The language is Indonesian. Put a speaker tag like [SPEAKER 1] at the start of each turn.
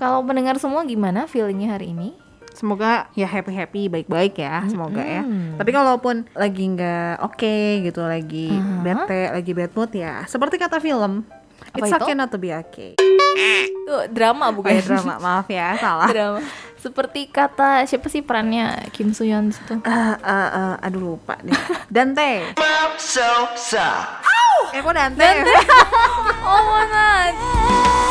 [SPEAKER 1] Kalau pendengar semua gimana feelingnya hari ini?
[SPEAKER 2] Semoga ya happy happy baik baik ya semoga ya.
[SPEAKER 1] Mm-mm.
[SPEAKER 2] Tapi kalaupun lagi nggak oke gitu lagi
[SPEAKER 1] Aha.
[SPEAKER 2] bete lagi bad mood ya seperti kata film.
[SPEAKER 1] Apa
[SPEAKER 2] It's
[SPEAKER 1] itu?
[SPEAKER 2] okay not to be okay.
[SPEAKER 1] Tuh, drama
[SPEAKER 2] Bukan
[SPEAKER 1] bukan
[SPEAKER 2] drama maaf ya salah.
[SPEAKER 1] drama. Seperti kata siapa sih perannya Kim Soo Hyun itu?
[SPEAKER 2] Eh, eh, eh, aduh lupa deh. Dante.
[SPEAKER 3] so sad.
[SPEAKER 2] Eh kok Dante?
[SPEAKER 1] Oh, mana?